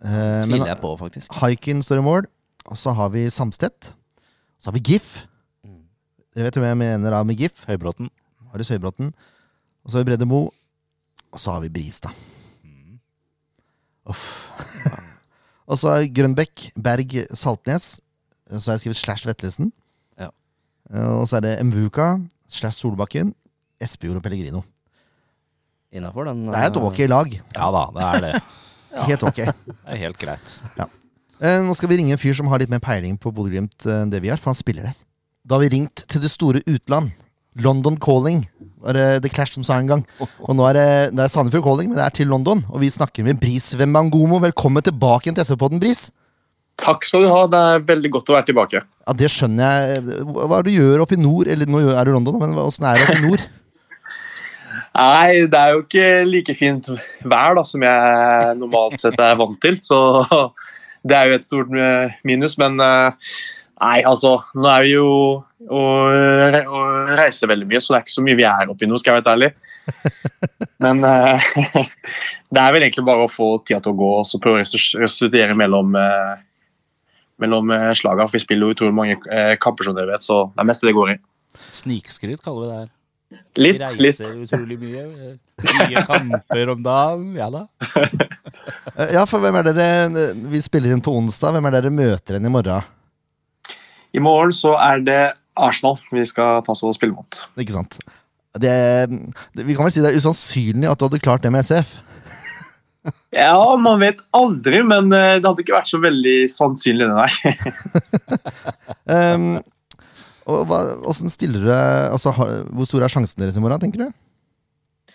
Eh, men Tviler jeg på, faktisk. Haikin står i mål, og så har vi Samstedt. Så har vi GIF. Mm. Dere vet jo hva jeg mener da med GIF. Høybråten. Marius Høybråten. Og så har vi Bredde Mo. Og så har vi Bristad. Mm. Uff. og så er Grønbekk, Berg, Saltnes. Og Så har jeg skrevet slash Vetlesen. Ja. Eh, Og så er det Mvuka slash Solbakken. Espejord og Pellegrino. Innafor den. Det er et eh, ok lag. Ja da, det er det. Helt ok. Det er helt greit. Eh, Nå skal vi ringe en fyr som har litt mer peiling på Bodø-Glimt eh, enn det vi har, for han spiller der. Da har vi ringt til det store utland. London Calling var det The Clash som sa en gang. Og nå er det, det er Sandefjord Calling, men det er til London. Og vi snakker med Bris Wembangomo. Velkommen tilbake igjen til SV-podden, Bris. Takk skal du ha. Det er veldig godt å være tilbake. Ja, Det skjønner jeg. Hva hva er det du gjør oppe i nord? Eller nå er du i London, men åssen er det oppe i nord? Nei, det er jo ikke like fint vær da, som jeg normalt sett er vant til, så det er jo et stort eh, minus. Men eh, Nei, altså, nå er vi jo og, og reiser veldig mye, så det er ikke så mye vi er oppi nå, skal jeg være helt ærlig. Men eh, det er vel egentlig bare å få tida til å gå og så prøve å restru- restituere mellom, eh, mellom eh, slaga. For vi spiller jo utrolig mange eh, kamper, som dere vet, så det er mest det det går i. Snikskryt kaller vi det her. Litt, vi litt. reiser utrolig mye. eh, Mye kamper om dagen. Ja da. Eh, Ja, for hvem er dere eh, Vi spiller inn på onsdag. Hvem er dere møter igjen i morgen? I morgen så er det Arsenal vi skal ta oss og spille mot. Ikke sant? Det, det, vi kan vel si det er usannsynlig at du hadde klart det med SF. Ja, man vet aldri, men eh, det hadde ikke vært så veldig sannsynlig, det, nei. Ehm, og hva, hvordan stiller du deg- altså, har, Hvor store er sjansen deres i morgen, tenker du?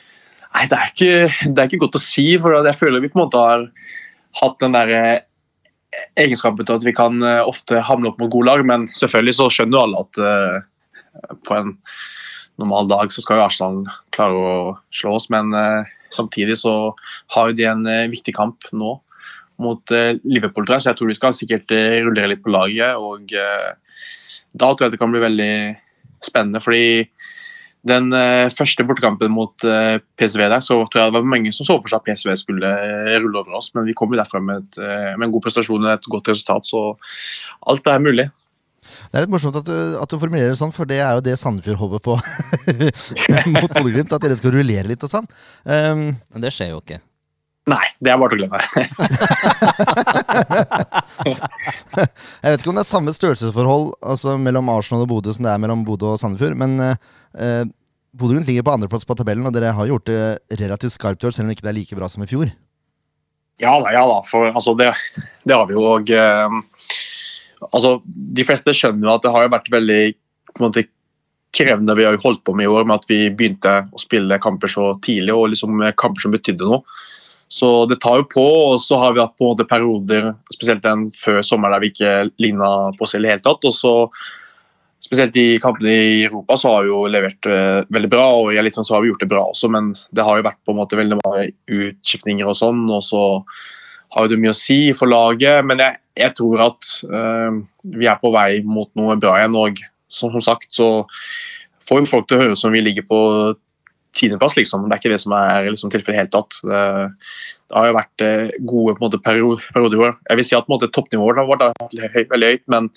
Nei, det er, ikke, det er ikke godt å si, for jeg føler vi på en måte har hatt den der eh, egenskapen til at vi kan eh, ofte hamle opp mot gode lag, men selvfølgelig så skjønner jo alle at eh, på en normal dag så skal jo Arsenal klare å slå oss, men eh, samtidig så har jo de en eh, viktig kamp nå mot eh, Liverpool, tror jeg, så jeg tror de skal sikkert eh, rullere litt på laget, og eh, da tror jeg det kan bli veldig spennende, fordi den eh, første bortekampen mot eh, PSV der, så tror jeg det var mange som så for seg at PSV skulle eh, rulle over oss, men vi kom jo derfra med, et, eh, med en god prestasjon og et godt resultat, så alt er mulig. Det er litt morsomt at du, at du formulerer det sånn, for det er jo det Sandefjord håper på mot Bodø-Glimt. At dere skal rullere litt og sånn. Ehm, eh, Men det skjer jo ikke. Nei, det er bare til å glemme. jeg vet ikke om det er samme størrelsesforhold altså, mellom Arsenal og Bodø som det er mellom Bodø og Sandefjord, men eh, eh, Bodø-Glimt ligger på andreplass på tabellen, og dere har gjort det relativt skarpt i år, selv om det ikke er like bra som i fjor. Ja da, ja da. For altså, det, det har vi jo. Og, eh, altså, de fleste skjønner jo at det har jo vært veldig på en måte, krevende vi har jo holdt på med i år, med at vi begynte å spille kamper så tidlig, og liksom eh, kamper som betydde noe. Så det tar jo på, og så har vi hatt på en måte perioder, spesielt den før sommeren, der vi ikke ligna på oss i det hele tatt. og så Spesielt i kampene i Europa så har vi jo levert eh, veldig bra, og i Eliteserien så har vi gjort det bra også, men det har jo vært på en måte veldig mange utskiftninger og sånn, og så har jo det mye å si for laget. Men jeg, jeg tror at eh, vi er på vei mot noe bra igjen. Og som, som sagt så får jo folk til å høre som vi ligger på tiendeplass, liksom. Det er ikke det som er liksom, tilfellet i det hele tatt. Det, det har jo vært eh, gode på en måte, perio- perioder i år. Jeg vil si at på en måte, toppnivået vårt har vært høy, veldig høyt, men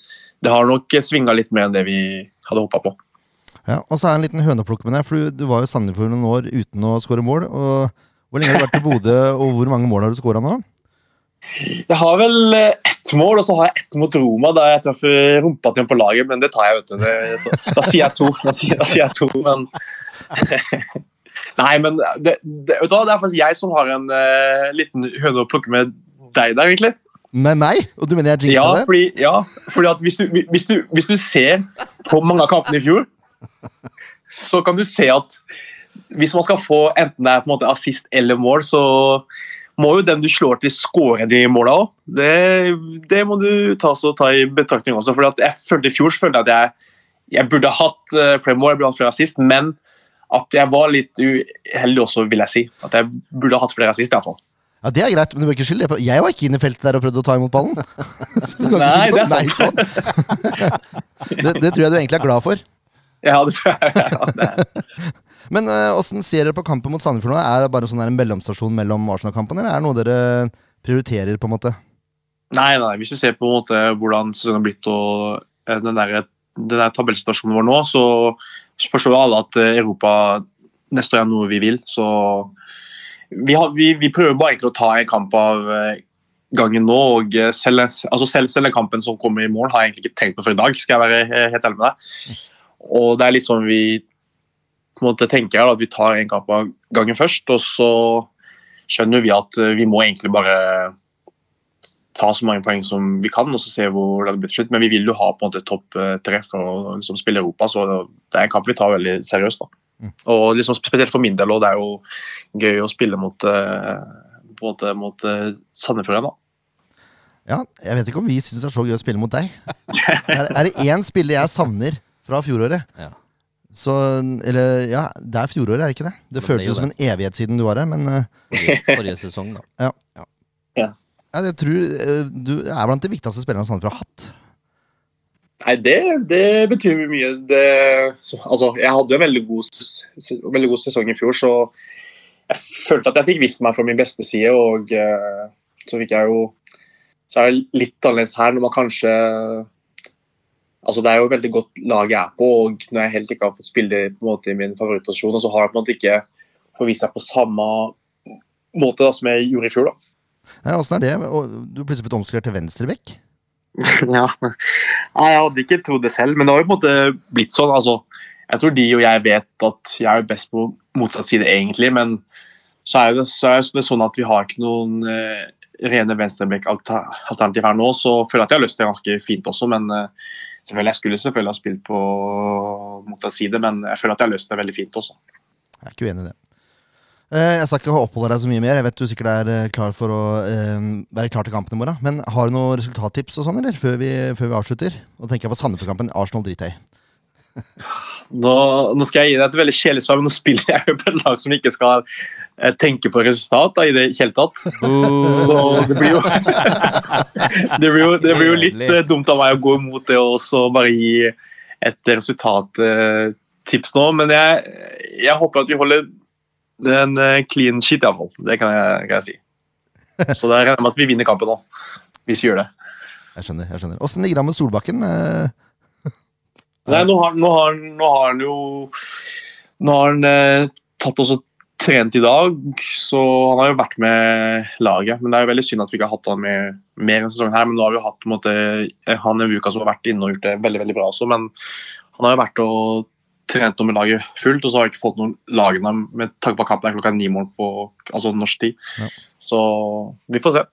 det har nok svinga litt mer enn det vi hadde håpa på. Ja, og så er det en liten høneplukk med deg, for du, du var jo i Sandefjord noen år uten å skåre mål. og Hvor lenge har du vært i Bodø, og hvor mange mål har du skåra nå? Jeg har vel eh, ett mål, og så har jeg ett mot Roma. Da jeg traff eh, rumpa til en på laget, men det tar jeg, vet du. Det, da sier jeg to. Da sier, da sier jeg to, men Nei, men det, det, vet du hva, det er faktisk jeg som har en eh, liten høne å plukke med deg der, egentlig. Med meg? Og du mener jeg jinxa Ja, det? fordi, ja, fordi at hvis du, hvis, du, hvis du ser på mange av kampene i fjor, så kan du se at hvis man skal få enten det er på en måte assist eller mål, så må jo den du slår til, skåre de måla òg. Det, det må du ta, så, ta i betraktning også. Fordi at jeg følte I fjor så følte jeg at jeg, jeg burde hatt eh, flere mål, jeg burde hatt flere assist, men at jeg var litt uheldig også, vil jeg si. At jeg burde hatt flere assist, iallfall. Ja, Det er greit, men du bør ikke skylde det på Jeg var ikke inne i feltet der og prøvde å ta imot ballen. Så du kan ikke Nei, skylde på meg sånn. det, det tror jeg du egentlig er glad for. Ja, det tror jeg. Ja, det er. Men eh, åssen ser dere på kampen mot Sandefjord nå? Er det bare sånn her en mellomstasjon mellom Arsenal-kampene, eller er det noe dere prioriterer, på en måte? Nei, nei, hvis du ser på en måte hvordan sesongen har blitt og eh, den der, den der tabellsituasjonen vår nå, så forstår jo alle at eh, Europa neste år er noe vi vil. Så vi, har, vi, vi prøver bare egentlig å ta en kamp av eh, gangen nå. og eh, selv, altså selv, selv den kampen som kommer i morgen, har jeg egentlig ikke tenkt på før i dag, skal jeg være eh, helt ærlig med deg. Og det er litt sånn vi på en måte tenker her, da, at vi tar en kamp av gangen først, og så skjønner vi at eh, vi må egentlig bare ta så mange poeng som vi kan, og så se hvor det blir til slutt. Men vi vil jo ha på en måte topp eh, tre for å liksom, spille Europa, så det er en kamp vi tar veldig seriøst. da. Mm. Og liksom Spesielt for min del, og det er jo gøy å spille mot, eh, på en måte, mot eh, Sandefjord igjen. da. Ja, Jeg vet ikke om vi syns det er så gøy å spille mot deg. Er, er det én spiller jeg savner fra fjoråret? Ja. Så, eller, ja, Det er fjoråret, er det ikke det? Det, Det blir føltes jo jo som en evighet siden du var her, men eh, Forrige, forrige sesong, da. ja, jeg tror eh, du er blant de viktigste spillerne Sandefjord har hatt. Nei, det, det betyr jo mye. Det, så, altså, jeg hadde jo en veldig god, ses- se- veldig god sesong i fjor, så jeg følte at jeg fikk vist meg fra min beste side. Og eh, så fikk jeg jo Så er det litt annerledes her, når man kanskje Altså, Det er jo et veldig godt lag jeg er på, og når jeg helt ikke har fått spille på en måte, i min favorittposisjon, og så har jeg på en måte ikke fått vist meg på samme måte da, som jeg gjorde i fjor, da. Nei, Åssen er det? Og Du er plutselig blitt omskrevet til venstrebekk? Ja. Nei, jeg hadde ikke trodd det selv, men det har jo på en måte blitt sånn. Altså, jeg tror de og jeg vet at jeg er best på motsatt side, egentlig, men så er det, så er det sånn at vi har ikke noen eh, rene venstreback-alternativ her nå, så føler jeg at jeg har lyst til det ganske fint også, men eh, selvfølgelig, jeg skulle selvfølgelig ha spilt på motsatt side, men jeg føler at jeg har lyst til det veldig fint også. Jeg er ikke uenig i det. Eh, Jeg skal ikke oppholde deg så mye mer. Jeg vet du sikkert er eh, klar for å eh, være klar til kampen i morgen. Men har du noen resultattips og sånn, eller? Før vi, før vi avslutter? Nå tenker jeg på Sandefjord-kampen. Arsenal driter jeg i. Nå, nå skal jeg gi deg et veldig kjedelig svar, men nå spiller jeg jo på et lag som ikke skal eh, tenke på resultat da, i det hele tatt. Så det blir jo det, blir jo, det blir jo litt eh, dumt av meg å gå imot det og så bare gi et resultattips nå. Men jeg, jeg håper at vi holder en eh, clean sheet, iallfall. Det kan jeg, kan jeg si. Så det regner jeg med at vi vinner kampen nå, hvis vi gjør det. Jeg skjønner. jeg skjønner. Åssen ligger det an med Solbakken? Eh, Nei, nå har, nå har, nå har han jo Nå har han eh, tatt oss og trent i dag, så han har jo vært med laget. Men det er jo veldig synd at vi ikke har hatt han med mer enn sesongen her. Men nå har vi jo hatt på en måte, eh, han i uka som har vært inne og gjort det veldig veldig bra også. Men han har jo vært og trent noe med laget fullt, og så har jeg ikke fått noen lagene med tanke på at kampen er klokka ni i morgen på altså norsk tid. Ja. Så vi får se.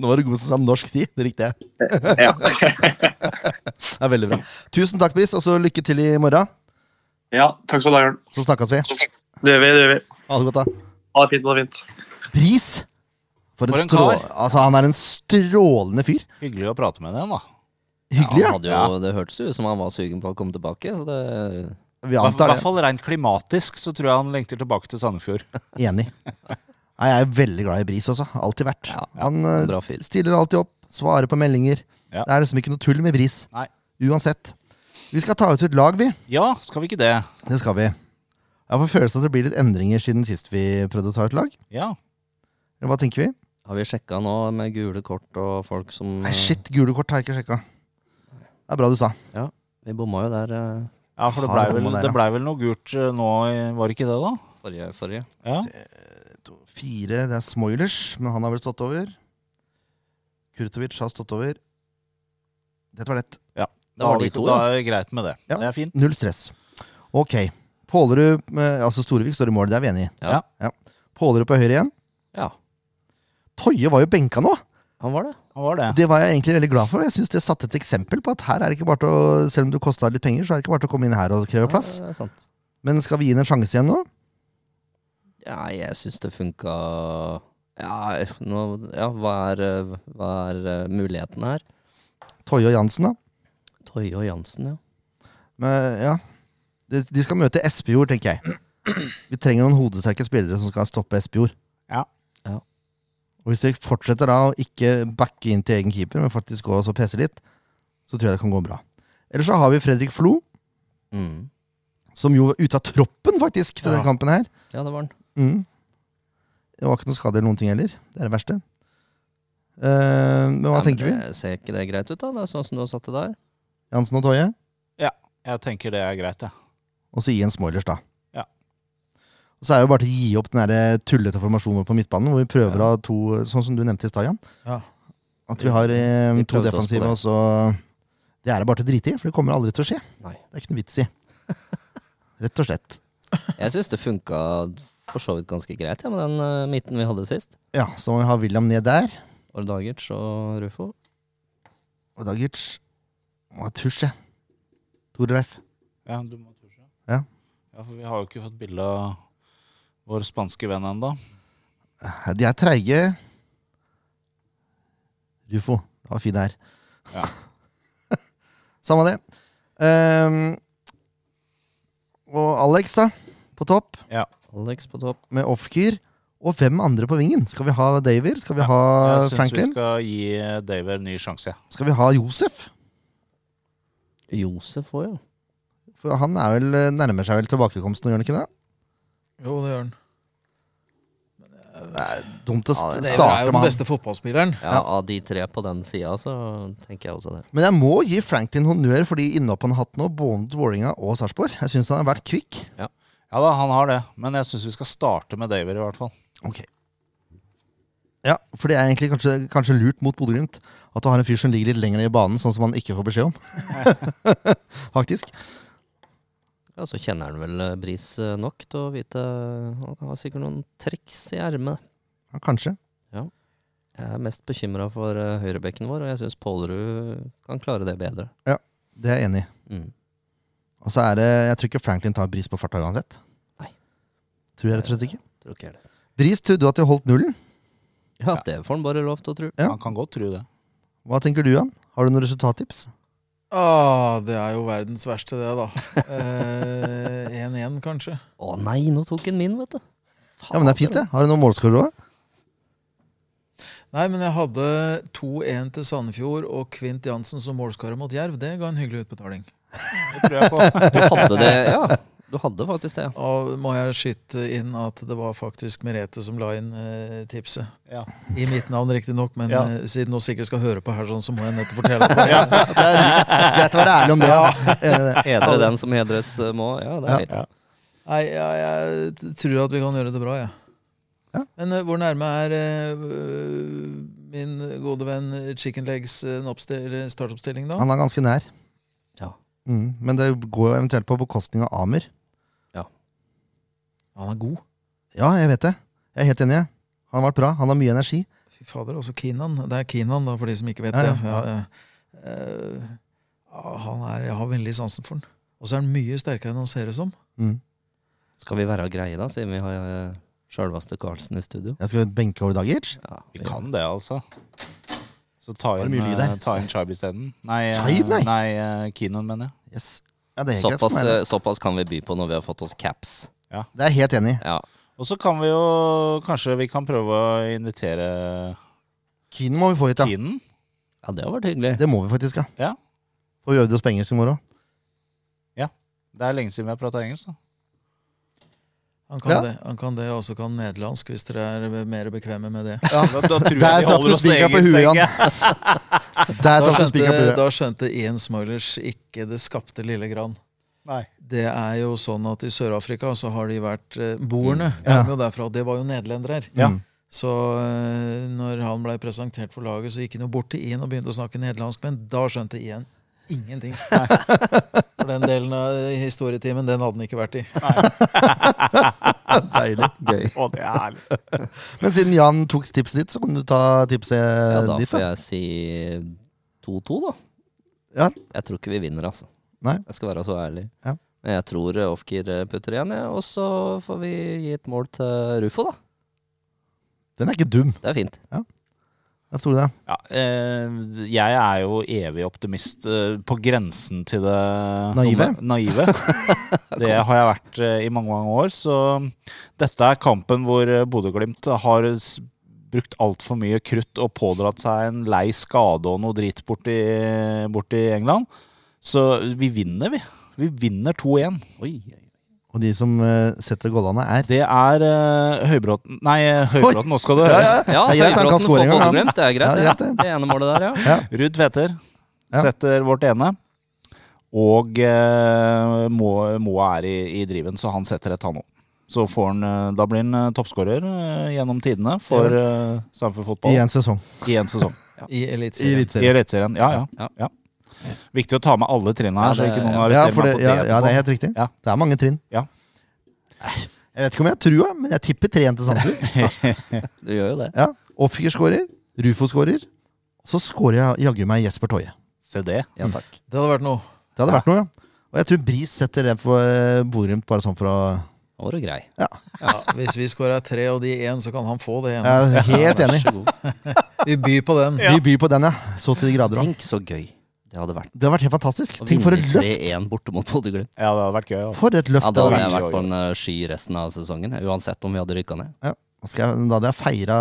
Nå var du god som sa norsk tid. Det likte jeg. Ja. Det er veldig bra. Tusen takk, Brice, og så lykke til i morgen. ja, takk skal du ha, Jørn. Så snakkes vi. Det gjør vi. det gjør vi. Ha det godt, da. Ha det fint. Ha det fint. Pris! For en, For en strå... kar. Altså, han er en strålende fyr. Hyggelig å prate med deg, da. Hyggelig, Ja, ja. han hadde jo, det hørtes jo ut som han var sugen på å komme tilbake, så det Vi I antar hvert det. fall rent klimatisk så tror jeg han lengter tilbake til Sandefjord. Enig. Nei, jeg er veldig glad i Bris også. Alltid vært. Han eh, bra fyr. st- stiller alltid opp, svarer på meldinger. Ja. Det er liksom ikke noe tull med Bris. Nei. Uansett. Vi skal ta ut et lag, vi. Ja, skal vi ikke det? Det skal vi. Jeg får følelsen at det blir litt endringer siden sist vi prøvde å ta ut lag. Ja. Eller Hva tenker vi? har vi sjekka nå med gule kort og folk som Nei, shit, gule kort har jeg ikke sjekka. Det er bra du sa. Vi bomma jo der eh, ja, for det blei Har vel, bomma der, det ja. ble vel noe gult eh, nå, i- var det ikke det, da? forrige, forrige. Ja. To, fire, det er Smoilers, men han har vel stått over. Kurtovic har stått over. Dette var lett. Det var da, er de vi- to, da ja. er det greit med det. Ja. Det er fint. Null stress. Ok. Pålerud, eh, altså Storevik står i mål, det er vi enig i. Ja. Pålerud på høyre igjen. ja. Toye var jo benka nå! Han var det. Det var det. Det var jeg egentlig veldig glad for. Jeg synes det satte et eksempel på at her er det ikke bare til å, selv om du kosta litt penger, så er det ikke bare til å komme inn her og kreve plass. Ja, det er sant. Men skal vi gi den en sjanse igjen nå? Ja, jeg syns det funka ja, nå, ja, hva er, eh, hva er eh, mulighetene her? Toye og Jansen, da. Toye og Jansen, ja. Men, ja. De, de skal møte Espejord, tenker jeg. Vi trenger noen hodesterke spillere som skal stoppe Espejord. Ja. Ja. Og hvis vi fortsetter da å ikke backe inn til egen keeper, men faktisk gå og så presse litt, så tror jeg det kan gå bra. Eller så har vi Fredrik Flo, Mm. som jo var ute av troppen faktisk til Ja. denne kampen her. Ja, det var han. Mm. Det var ikke noe skade eller noen ting heller. Det er det verste. Eh, men hva Nei, men tenker vi? det- Ser ikke det greit ut, da? Det er sånn som du har satt det der? Jansen og Toje? Jeg tenker det er greit, jeg. Og så gi en smoilers, da. Ja. Og så er det jo bare til å gi opp den der eh, tullete formasjonen på midtbanen, hvor vi prøver å ha to, sånn som du nevnte i stad, Jan. Ja. At vi har eh, Vi to prøvde oss på defensive, det. og så Det er det bare til å drite i, for det kommer aldri til å skje. Nei. Det er ikke noe vits i. Rett og slett. Jeg syns det funka for så vidt ganske greit, ja, med den eh, midten vi hadde sist. Ja, så må vi ha William ned der. Ordagic og Rufo. Og Dagic Må ha tusj, jeg. Tore Leif. Ja, du må tusje. Ja. ja, for vi har jo ikke fått bilde av vår spanske venn ennå. De er treige. Rufo. Det var fin her. Ja. Samme det. Ehm, og Alex, da. På topp, Alex på topp. med off-gear. Og fem andre på vingen. Skal vi ha Daver? Skal vi Ja, ha Jeg syns vi eh, Franklin? skal gi Daver en ny sjanse. Skal vi ha Josef? Josef òg, ja. For han er vel, eh, nærmer seg vel tilbakekomsten, gjør han ikke det? Jo, det gjør han. Det er dumt å Ja, det- st- Det er starte jo den med han. beste fotballspilleren. ja. Av de tre på den sida, så tenker jeg også det. Men jeg må gi Franklin honnør for de innhopp han har hatt nå, både mot Vålerenga og Sarpsborg. Jeg syns han har vært kvikk. Ja da, han har det, men jeg syns vi skal starte med Daver, i hvert fall. Ok. Ja, for det er egentlig kanskje, kanskje lurt mot Bodø-Glimt at du har en fyr som ligger litt lenger ned i banen, sånn som han ikke får beskjed om. Faktisk. Ja, Så kjenner han vel eh, Bris eh, nok til å vite eh, Han har sikkert noen triks i ermet. Ja, kanskje. Jeg er mest bekymra for eh, høyrebekken vår, og jeg syns Pålerud kan klare det bedre. Det er jeg enig i. Mm. Og så er det Jeg tror ikke Franklin tar Bris på farta uansett. Nei. Tror jeg rett og slett ikke. Tror ikke jeg det. Bris trodde at de holdt nullen. Ja, det får han bare lov til å tro. Ja. Han kan godt tro det. Hva tenker du, Jan? Har du noen resultattips? Ah, det er jo verdens verste, det, da. Eh, 1-1, kanskje. Å nei, nå tok han min, vet du. Ja, men det er fint, det. Har du noen målskårere òg? Nei, men jeg hadde 2-1 til Sandefjord og Kvint Jansen som målskårer mot Jerv. Det ga en hyggelig utbetaling. Det tror jeg på. Du hadde det, ja. Du hadde faktisk det, ja. Og må jeg skyte inn at det var faktisk Merete som la inn eh, tipset. Ja. I mitt navn, riktignok, men Ja. eh, siden hun sikkert skal høre på her, sånn, så må jeg nettopp fortelle det. Greit å være ærlig om det. Ja. Eh, Enig i det. Hedre den som hedres eh, må. Ja, det Ja. er fint. Nei, jeg, jeg t- tror at vi kan gjøre det bra, jeg. Ja. Men eh, hvor nærme er eh, min gode venn Chicken Legs eh, en oppstil- eller startoppstilling, da? Han er ganske nær. Ja. Mm. Men det går jo eventuelt på bekostning av Amer. Han er god. Ja, jeg vet det. Jeg er helt enig. jeg. Han har vært bra. Han har mye energi. Fy fader, også Kinan. Det er Kinan, da, for de som ikke vet Ja, ja. det. Ja, ja. Eh, ja, han er, jeg har veldig sansen for han. Og så er han mye sterkere enn han ser ut som. Mm. Skal vi være greie, da, siden vi har eh, sjølveste Karlsen i studio? Jeg skal benke over Dagic. Ja, Vi kan det, altså. Så ta Var det inn, mye lyd der? eh, ta inn Chibe isteden. Nei, eh, Chibe, nei. nei eh, Keenan, mener jeg. Yes. Ja, det er helt greit Såpass, for meg. det. eh, såpass kan vi by på når vi har fått oss caps. Det er jeg helt enig i. Ja. Og så kan vi jo Kanskje vi kan prøve å invitere Keen må vi få hit, ja. Keenan? ja, det har vært hyggelig. Det må vi faktisk, ja. Ja. Og vi øvde oss på engelsk i morgen. Det er lenge siden vi har prata engelsk. da Han kan Ja. det, han kan det, og så kan nederlandsk, hvis dere er mer bekvemme med det. Ja. Da, da tror Der traff jeg vi du holder oss til spikeren på engelsk. huet, tenker Der jeg. Da traff du spikeren på skjønte, huet. da skjønte Ian Smoilers ikke det skapte lille grann. Nei. Det er jo sånn at i Sør-Afrika så har de vært eh, boerne. Mm. Ja. Kom jo derfra, og Det var jo nederlendere. Ja. Mm. Så eh, når han blei presentert for laget, så gikk han jo bort til Ian og begynte å snakke nederlandsk, men da skjønte Ian ingenting. For den delen av historietimen, den hadde han ikke vært i. Deilig. Gøy. Å, det er herlig. Men siden Jan tok tipset ditt, så kan du ta tipset Ja, Eh, da ditt. får Da. jeg si 2-2, da. Ja. Jeg tror ikke vi vinner, altså. Nei. Jeg skal være så ærlig. Ja. Men jeg tror eh, Ofkir eh, putter igjen, jeg. Og så får vi gi et mål til Rufo, da. Den er ikke dum. Det er fint. Jeg tror det. Ja, eh, jeg er jo evig optimist eh, på grensen til det Naive? naive. Det har jeg vært eh, i mange, mange år. Så dette er kampen hvor eh, Bodø-Glimt har s- brukt altfor mye krutt og pådratt seg en lei skade og noe drit borti, borti England. Så vi vinner, vi. Vi vinner 2-1. Oi, oi, oi. Og de som eh, setter gollene, er Det er eh, Høybråten Nei, Høybråten, nå skal du høre. ja, ja. Ja, Det er greit, han kan Høybråten score får en gang, han. Bodø-Glimt. Det er greit, Ja, ja, greit, det. det ene målet der, ja. Ruud Tveter Ja. setter vårt ene. Og eh, Moa Moa er i, i driven, så han setter et, han òg. Så får han, eh, da blir han eh, toppskårer eh, gjennom tidene for eh, Sandefjord i fotball en sesong. i en sesong. I I Eliteserien. I Eliteserien. Eliteserien. Ja, ja, Ja. ja. Viktig å ta med alle trinnene her, Ja, så det- ikke noen ja. Ja, arresterer for det, meg på ja, det. ja, det er etterpå. helt riktig. Ja. Det er mange trinn. Ja. Nei, Jeg vet ikke om jeg har trua, men jeg tipper 3-1 til Sandefjord. Du gjør jo det. Ja. Offiker skårer, Rufo skårer. Så skårer jeg jaggu meg Jesper Toje. Se det. Ja, takk. Det hadde vært noe. Det hadde vært noe, ja. Og jeg tror Bris setter det for eh, Bodø-Glimt, bare sånn for å Nå var du grei. Ja, hvis vi skåra tre og de én, så kan han få det ene. Jeg er helt Ja, enig. Vær så god. Vi byr på den. Vi byr på den, ja. Så til de grader. da. Tenk så gøy det hadde vært. Det har vært helt fantastisk. Å Tenk for vinne et løft! 3-1 borte mot Bodø-Glimt. Ja, det hadde vært gøy. altså. For et løft Ja, det da hadde hadde vært. jeg vært på en eh, sky resten av sesongen, jeg, uansett om vi hadde rykka ned. Da, skal jeg, da hadde jeg feira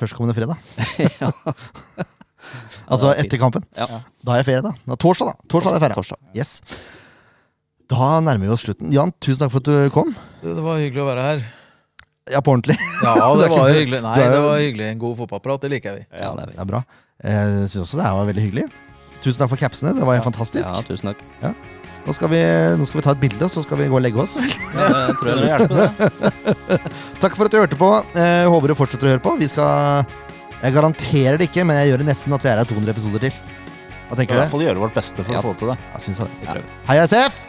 førstkommende fredag. Altså det er fint. etter kampen. Ja. Da er jeg ferie, da. da torsdag, da. Torsdag er jeg ferie. Torsdag. Yes. Da nærmer vi oss slutten. Jan, tusen takk for at du kom. Det var hyggelig å være her. Ja, på ordentlig. Ja, Det det er var ikke- hyggelig. Nei, det er jo- det var hyggelig. En god fotballprat, det liker vi. Ja, det er Det vi. er bra. Eh, Jeg syns også det her var veldig hyggelig. Tusen takk for capsene. Det var fantastisk. Ja, tusen takk. Nå, skal vi, nå skal vi ta et bilde, og så skal vi gå og legge oss. Ja, det tror jeg Det er lurt. hjelper, det. Takk for at du hørte på. Eh, håper du fortsetter å høre på. Vi skal Jeg garanterer det ikke, men jeg gjør det nesten at vi er her 200 episoder til. Hva Vi skal i tenker hvert du? fall gjøre vårt beste for Ja. å få til det. Jeg syns det. Vi prøver. Hei, SF!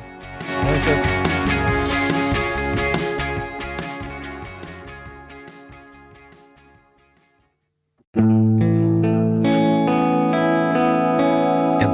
Nå har vi sett En